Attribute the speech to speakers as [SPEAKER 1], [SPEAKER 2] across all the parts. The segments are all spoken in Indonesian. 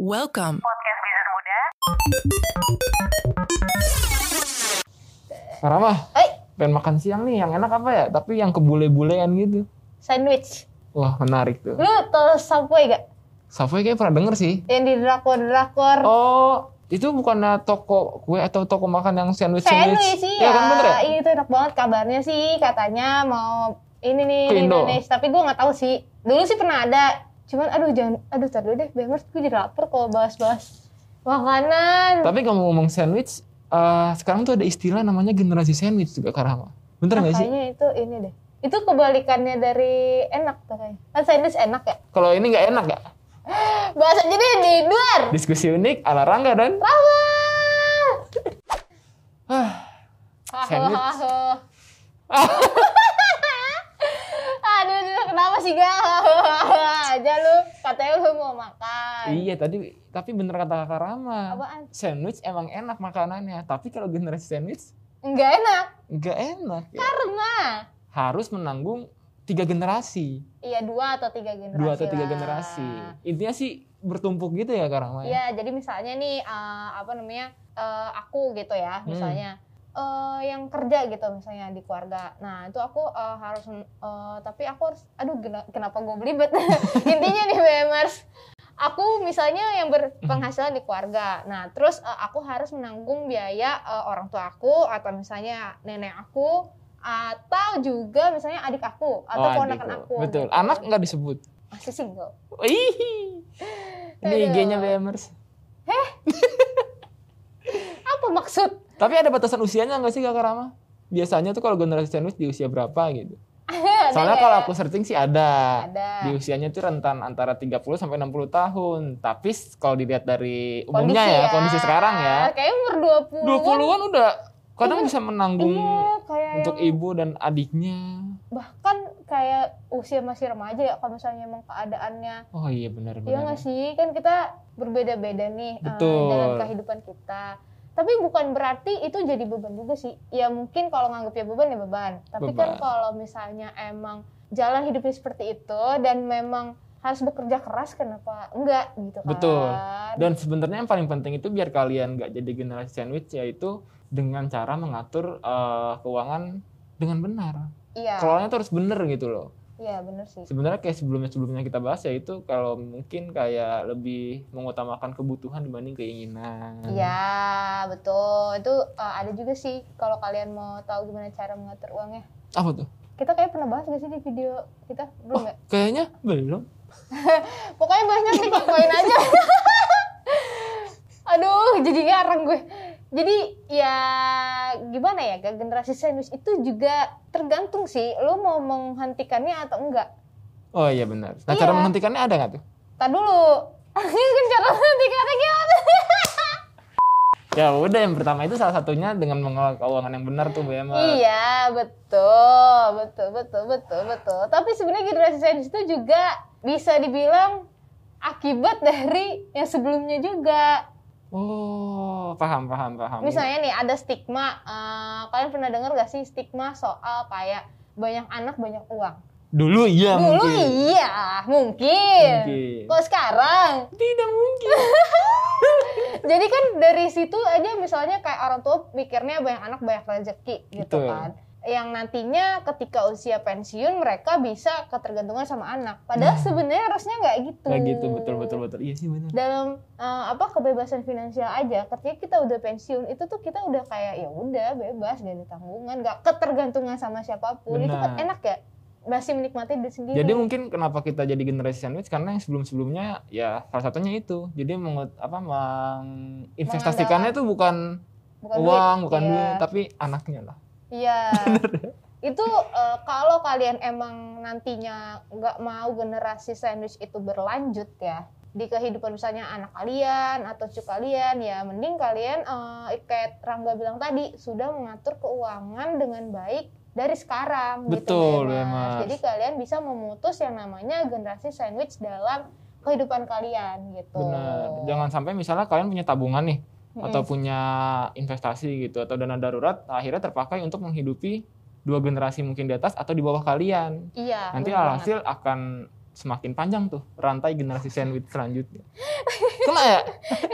[SPEAKER 1] Welcome.
[SPEAKER 2] Sekarang mah,
[SPEAKER 3] Eh.
[SPEAKER 2] pengen makan siang nih yang enak apa ya? Tapi yang kebule-bulean gitu.
[SPEAKER 3] Sandwich.
[SPEAKER 2] Wah menarik tuh.
[SPEAKER 3] Lu tau Subway gak?
[SPEAKER 2] Savoy kayak pernah denger sih.
[SPEAKER 3] Yang di drakor-drakor.
[SPEAKER 2] Oh, itu bukannya toko kue atau toko makan yang sandwich
[SPEAKER 3] sandwich sih
[SPEAKER 2] Iya
[SPEAKER 3] ya.
[SPEAKER 2] kan bener ya?
[SPEAKER 3] Itu enak banget kabarnya sih. Katanya mau ini nih
[SPEAKER 2] Ke
[SPEAKER 3] di
[SPEAKER 2] Indo.
[SPEAKER 3] Indonesia. Tapi gue gak tahu sih. Dulu sih pernah ada. Cuman aduh jangan. Aduh tar dulu deh. Bemers gue jadi lapar kalau bahas-bahas. Makanan.
[SPEAKER 2] Tapi kamu ngomong sandwich, eh, sekarang tuh ada istilah namanya generasi sandwich juga Karama. Bener nggak sih?
[SPEAKER 3] Makanya itu ini deh. Itu kebalikannya dari enak tuh kayaknya. Kan sandwich enak ya.
[SPEAKER 2] Kalau ini nggak enak ya?
[SPEAKER 3] Bahasa jadi di luar.
[SPEAKER 2] Diskusi unik ala Rangga dan
[SPEAKER 3] Rama.
[SPEAKER 2] ah, Sandwich.
[SPEAKER 3] Hahaha. Aduh, aduh, kenapa sih gak? aja lu, katanya lu mau makan.
[SPEAKER 2] iya tadi tapi bener kata Karama.
[SPEAKER 3] Apaan?
[SPEAKER 2] Sandwich emang enak makanannya, tapi kalau generasi sandwich
[SPEAKER 3] Enggak enak,
[SPEAKER 2] nggak enak. ya.
[SPEAKER 3] karena
[SPEAKER 2] Harus menanggung tiga generasi,
[SPEAKER 3] iya dua atau tiga generasi.
[SPEAKER 2] dua atau tiga
[SPEAKER 3] lah.
[SPEAKER 2] generasi. Intinya sih bertumpuk gitu ya Karama. ya?
[SPEAKER 3] Iya, jadi misalnya nih eh, apa namanya? eh, aku gitu ya,
[SPEAKER 2] Hmm.
[SPEAKER 3] misalnya eh, yang kerja gitu misalnya di keluarga. Nah, itu aku eh, harus eh, tapi aku harus aduh gena- kenapa gue belibet. Intinya nih BMers Aku misalnya yang berpenghasilan di keluarga. Nah, terus eh, aku harus menanggung biaya eh, orang tua aku atau misalnya nenek aku atau juga misalnya adik aku atau
[SPEAKER 2] Oh,
[SPEAKER 3] ponakan
[SPEAKER 2] adikku.
[SPEAKER 3] aku.
[SPEAKER 2] Betul.
[SPEAKER 3] gitu.
[SPEAKER 2] Anak nggak disebut.
[SPEAKER 3] masih single.
[SPEAKER 2] Ih. Ini
[SPEAKER 3] Aduh.
[SPEAKER 2] IG-nya BMers.
[SPEAKER 3] Apa maksud?
[SPEAKER 2] Tapi ada batasan usianya nggak sih Kakak Rama? Biasanya tuh kalau generasi sandwich di usia berapa gitu?
[SPEAKER 3] Ada
[SPEAKER 2] Soalnya
[SPEAKER 3] nggak
[SPEAKER 2] kalau
[SPEAKER 3] ya?
[SPEAKER 2] aku searching sih ada.
[SPEAKER 3] ada
[SPEAKER 2] Di usianya tuh rentan antara 30 sampai 60 tahun. Tapi s- kalau dilihat dari umumnya ya, kondisi sekarang ya,
[SPEAKER 3] Kayaknya umur 20.
[SPEAKER 2] 20-an udah kadang
[SPEAKER 3] Iya.
[SPEAKER 2] bisa menanggung
[SPEAKER 3] Iya, kayak
[SPEAKER 2] untuk
[SPEAKER 3] yang-
[SPEAKER 2] ibu dan adiknya.
[SPEAKER 3] bahkan kayak usia masih remaja ya kalau misalnya emang keadaannya
[SPEAKER 2] Oh iya benar
[SPEAKER 3] Iya
[SPEAKER 2] benar.
[SPEAKER 3] nggak sih? Kan kita berbeda-beda nih eh,
[SPEAKER 2] Betul.
[SPEAKER 3] dalam kehidupan kita. Tapi bukan berarti itu jadi beban juga sih. Ya mungkin kalau nganggapnya beban ya beban. Tapi kan
[SPEAKER 2] Beban.
[SPEAKER 3] kalau misalnya emang jalan hidupnya seperti itu dan memang harus bekerja keras kenapa enggak gitu kan.
[SPEAKER 2] Betul. Dan sebenarnya yang paling penting itu biar kalian nggak jadi generasi sandwich yaitu dengan cara mengatur eh, keuangan dengan benar.
[SPEAKER 3] iya,
[SPEAKER 2] Kelolanya tuh harus benar gitu loh.
[SPEAKER 3] iya bener sih.
[SPEAKER 2] Sebenarnya kayak sebelumnya-sebelumnya kita bahas yaitu kalau mungkin kayak lebih mengutamakan kebutuhan dibanding keinginan.
[SPEAKER 3] Iya, betul. Itu uh, ada juga sih kalau kalian mau tahu gimana cara mengatur uangnya.
[SPEAKER 2] Apa tuh?
[SPEAKER 3] Kita kayak pernah bahas gak sih di video kita? Belum ya? nggak?
[SPEAKER 2] Kayaknya belum.
[SPEAKER 3] Oh, Pokoknya banyak nih pokoknya aja. Aduh, jadi ngarang gue. Jadi ya gimana ya, ke generasi sandwich itu juga tergantung sih lo mau menghentikannya atau enggak.
[SPEAKER 2] Oh iya benar. Nah
[SPEAKER 3] Iya.
[SPEAKER 2] cara menghentikannya ada nggak tuh?
[SPEAKER 3] Tar dulu. Kan cara menghentikannya gimana?
[SPEAKER 2] Ya udah yang pertama itu salah satunya dengan mengelola keuangan yang benar tuh BM.
[SPEAKER 3] Iya, betul, betul, betul, betul, betul. Tapi sebenarnya generasi sandwich itu juga bisa dibilang akibat dari yang sebelumnya juga.
[SPEAKER 2] Oh paham paham paham.
[SPEAKER 3] Misalnya nih ada stigma, eh, kalian pernah dengar gak sih stigma soal kayak banyak anak banyak uang?
[SPEAKER 2] Dulu iya
[SPEAKER 3] Dulu
[SPEAKER 2] mungkin.
[SPEAKER 3] iya, mungkin.
[SPEAKER 2] Mungkin.
[SPEAKER 3] Kok sekarang?
[SPEAKER 2] Tidak mungkin.
[SPEAKER 3] Jadi kan dari situ aja misalnya kayak orang tua mikirnya banyak anak banyak rezeki gitu
[SPEAKER 2] Betul.
[SPEAKER 3] kan. Yang nantinya ketika usia pensiun mereka bisa ketergantungan sama anak. Padahal sebenarnya harusnya nggak gitu.
[SPEAKER 2] Kayak Nah. gitu betul betul betul. Iya sih benar.
[SPEAKER 3] Dalam eh, apa kebebasan finansial aja, ketika kita udah pensiun itu tuh kita udah kayak ya udah bebas gak ada tanggungan, nggak ketergantungan sama siapapun. Itu kan
[SPEAKER 2] Benar.
[SPEAKER 3] enak ya. Masih menikmati diri sendiri.
[SPEAKER 2] Jadi mungkin kenapa kita jadi generasi sandwich karena yang sebelum-sebelumnya ya salah satunya itu. Jadi mengut, apa menginvestasikannya tuh bukan,
[SPEAKER 3] bukan duit.
[SPEAKER 2] uang, bukan
[SPEAKER 3] Iya.
[SPEAKER 2] duit, tapi anaknya lah.
[SPEAKER 3] Iya.
[SPEAKER 2] ya?
[SPEAKER 3] itu eh, kalau kalian emang nantinya nggak mau generasi sandwich itu berlanjut ya di kehidupan misalnya anak kalian atau cucu kalian ya mending kalian eh, kayak Rangga bilang tadi sudah mengatur keuangan dengan baik dari sekarang
[SPEAKER 2] Betul,
[SPEAKER 3] gitu Mas.
[SPEAKER 2] Mas.
[SPEAKER 3] Jadi kalian bisa memutus yang namanya generasi sandwich dalam kehidupan kalian gitu.
[SPEAKER 2] Benar. Jangan sampai misalnya kalian punya tabungan nih
[SPEAKER 3] Mm-mm.
[SPEAKER 2] atau punya investasi gitu atau dana darurat akhirnya terpakai untuk menghidupi dua generasi mungkin di atas atau di bawah kalian.
[SPEAKER 3] iya.
[SPEAKER 2] Nanti
[SPEAKER 3] bener banget.
[SPEAKER 2] alhasil akan semakin panjang tuh rantai generasi sandwich selanjutnya. Kena ya?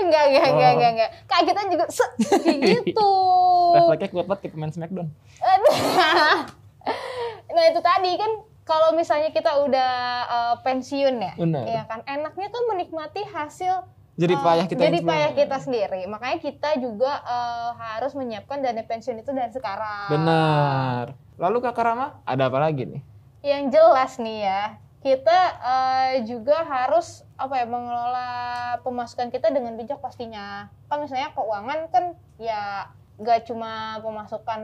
[SPEAKER 3] enggak enggak enggak
[SPEAKER 2] Oh.
[SPEAKER 3] enggak enggak kagetnya juga se kayak gitu
[SPEAKER 2] Refleksnya kuat banget kayak pemain Smackdown.
[SPEAKER 3] nah itu tadi kan kalau misalnya kita udah eh, pensiun ya
[SPEAKER 2] Benar.
[SPEAKER 3] ya kan enaknya tuh menikmati hasil
[SPEAKER 2] Iya. Jadi
[SPEAKER 3] eh,
[SPEAKER 2] payah kita. yang
[SPEAKER 3] jadi payah
[SPEAKER 2] sebenarnya.
[SPEAKER 3] kita sendiri makanya kita juga eh, harus menyiapkan dana pensiun itu dari sekarang
[SPEAKER 2] Benar. Lalu Kak Rama, ada apa lagi nih?
[SPEAKER 3] yang jelas nih ya kita eh, juga harus apa ya mengelola pemasukan kita dengan bijak pastinya kan misalnya keuangan kan ya gak cuma pemasukan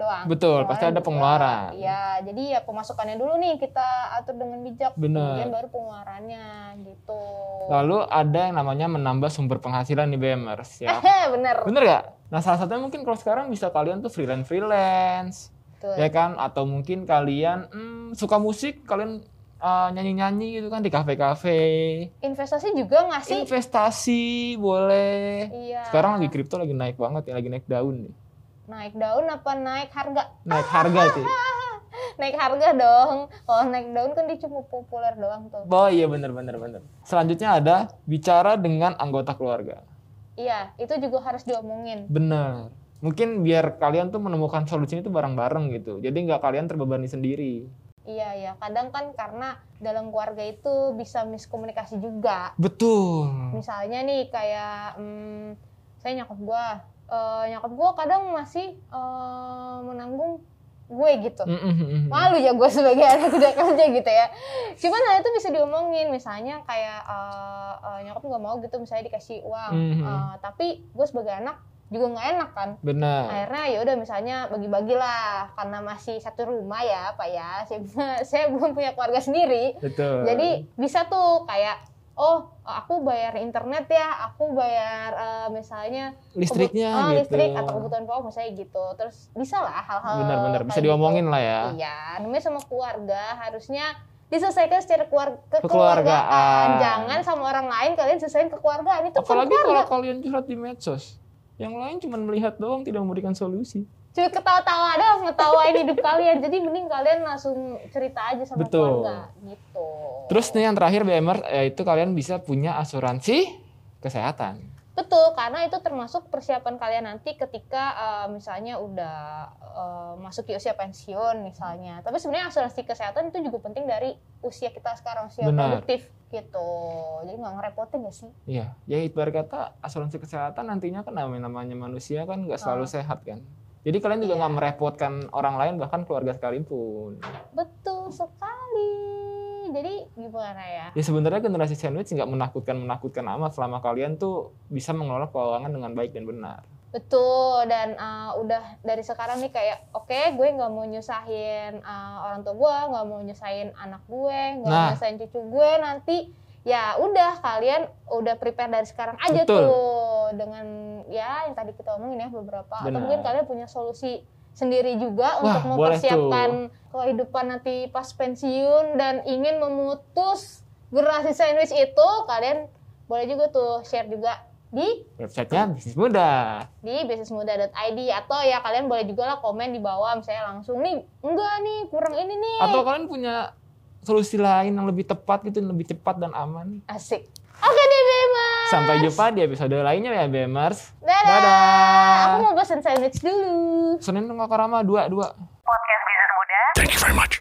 [SPEAKER 3] doang
[SPEAKER 2] Betul, pasti ada
[SPEAKER 3] juga.
[SPEAKER 2] pengeluaran.
[SPEAKER 3] iya jadi ya pemasukannya dulu nih kita atur dengan bijak
[SPEAKER 2] Benar.
[SPEAKER 3] kemudian baru pengeluarannya gitu
[SPEAKER 2] Lalu ada yang namanya menambah sumber penghasilan di BMers ya.
[SPEAKER 3] Eh. bener
[SPEAKER 2] Bener gak? Nah salah satunya mungkin kalau sekarang bisa kalian tuh freelance freelance,
[SPEAKER 3] Betul.
[SPEAKER 2] ya kan? Atau mungkin kalian hmm, suka musik, kalian nyanyi nyanyi gitu kan di kafe kafe.
[SPEAKER 3] investasi juga nggak sih
[SPEAKER 2] Investasi boleh.
[SPEAKER 3] iya
[SPEAKER 2] Sekarang lagi kripto lagi naik banget ya, lagi naik daun nih.
[SPEAKER 3] naik daun apa naik harga
[SPEAKER 2] Naik harga sih.
[SPEAKER 3] naik harga dong kalau naik daun kan dia cuma populer doang tuh
[SPEAKER 2] Oh iya bener bener bener. Selanjutnya ada bicara dengan anggota keluarga.
[SPEAKER 3] Iya, itu juga harus diomongin.
[SPEAKER 2] Bener. Mungkin biar kalian tuh menemukan solusinya itu bareng-bareng gitu. Jadi nggak kalian terbebani sendiri.
[SPEAKER 3] Iya, ya. Kadang kan karena dalam keluarga itu bisa miskomunikasi juga.
[SPEAKER 2] Betul.
[SPEAKER 3] Misalnya nih kayak mm, saya nyokap gua, Eh, nyokap gua kadang masih eh, menanggung gue
[SPEAKER 2] Mm,
[SPEAKER 3] gitu.
[SPEAKER 2] Hmm. Mm-mm-mm.
[SPEAKER 3] Malu ya gue sebagai anak udah kerja gitu ya. Cuman hal itu bisa diomongin. Misalnya kayak eh, eh, nyokap nggak mau gitu misalnya dikasih uang,
[SPEAKER 2] Mhm.
[SPEAKER 3] Eh, tapi gue sebagai anak juga nggak enak kan
[SPEAKER 2] Benar.
[SPEAKER 3] akhirnya ya udah misalnya bagi-bagilah karena masih satu rumah ya pak ya saya, saya belum punya keluarga sendiri
[SPEAKER 2] Betul.
[SPEAKER 3] jadi bisa tuh kayak oh aku bayar internet ya aku bayar eh, misalnya
[SPEAKER 2] listriknya
[SPEAKER 3] kebu- ah,
[SPEAKER 2] gitu.
[SPEAKER 3] listrik atau kebutuhan pokok misalnya gitu terus bisa lah hal-hal
[SPEAKER 2] Benar-benar bisa
[SPEAKER 3] kayak
[SPEAKER 2] diomongin
[SPEAKER 3] gitu.
[SPEAKER 2] lah ya.
[SPEAKER 3] iya namanya sama keluarga harusnya diselesaikan secara keluarga
[SPEAKER 2] Kekeluargaan.
[SPEAKER 3] kekeluargaan jangan sama orang lain kalian selesaikan kekeluargaan itu bukan
[SPEAKER 2] Apalagi kalau
[SPEAKER 3] keluarga
[SPEAKER 2] kalian curhat di medsos, yang lain cuma melihat doang tidak memberikan solusi.
[SPEAKER 3] Cuy ketawa-tawa dong, ngetawain hidup kalian. Jadi mending kalian langsung cerita aja sama
[SPEAKER 2] Betul.
[SPEAKER 3] keluarga gitu.
[SPEAKER 2] Terus nih yang terakhir BMR yaitu kalian bisa punya asuransi kesehatan.
[SPEAKER 3] Betul, karena itu termasuk persiapan kalian nanti ketika eh, misalnya udah eh, masuk ke usia pensiun misalnya. Tapi sebenarnya asuransi kesehatan itu juga penting dari usia kita sekarang usia
[SPEAKER 2] Benar.
[SPEAKER 3] produktif gitu. Jadi nggak ngerepotin ya sih.
[SPEAKER 2] Iya, ya ibarat kata asuransi kesehatan nantinya kan namanya namanya manusia kan nggak selalu sehat kan. Jadi kalian juga
[SPEAKER 3] Iya.
[SPEAKER 2] nggak merepotkan orang lain bahkan keluarga sekalipun.
[SPEAKER 3] Betul sekali. Jadi gimana ya?
[SPEAKER 2] Ya sebenarnya generasi sandwich nggak menakutkan menakutkan amat selama kalian tuh bisa mengelola keuangan dengan baik dan benar.
[SPEAKER 3] Betul dan uh, udah dari sekarang nih kayak oke gue nggak mau nyusahin uh, orang tua gue nggak mau nyusahin anak gue nggak mau
[SPEAKER 2] Nah.
[SPEAKER 3] nyusahin cucu gue nanti ya udah kalian udah prepare dari sekarang aja
[SPEAKER 2] Betul.
[SPEAKER 3] tuh dengan ya yang tadi kita omongin ya beberapa atau
[SPEAKER 2] Benar.
[SPEAKER 3] mungkin kalian punya solusi sendiri juga
[SPEAKER 2] Wah,
[SPEAKER 3] untuk
[SPEAKER 2] boleh
[SPEAKER 3] mempersiapkan kehidupan nanti pas pensiun dan ingin memutus generasi sandwich itu kalian boleh juga tuh share juga di
[SPEAKER 2] Websitenya bisnis mudah.
[SPEAKER 3] di bisnismuda.id atau ya kalian boleh juga lah komen di bawah misalnya langsung nih enggak nih kurang ini nih
[SPEAKER 2] Atau kalian punya solusi lain yang lebih tepat gitu, yang lebih cepat dan aman.
[SPEAKER 3] asik oke deh Bema
[SPEAKER 2] Sampai jumpa di episode lainnya ya Bemers.
[SPEAKER 3] dadah,
[SPEAKER 2] Dadah.
[SPEAKER 3] aku mau pesen sandwich dulu
[SPEAKER 2] Senin dong Kak Rama dua dua.
[SPEAKER 1] Thank you very much.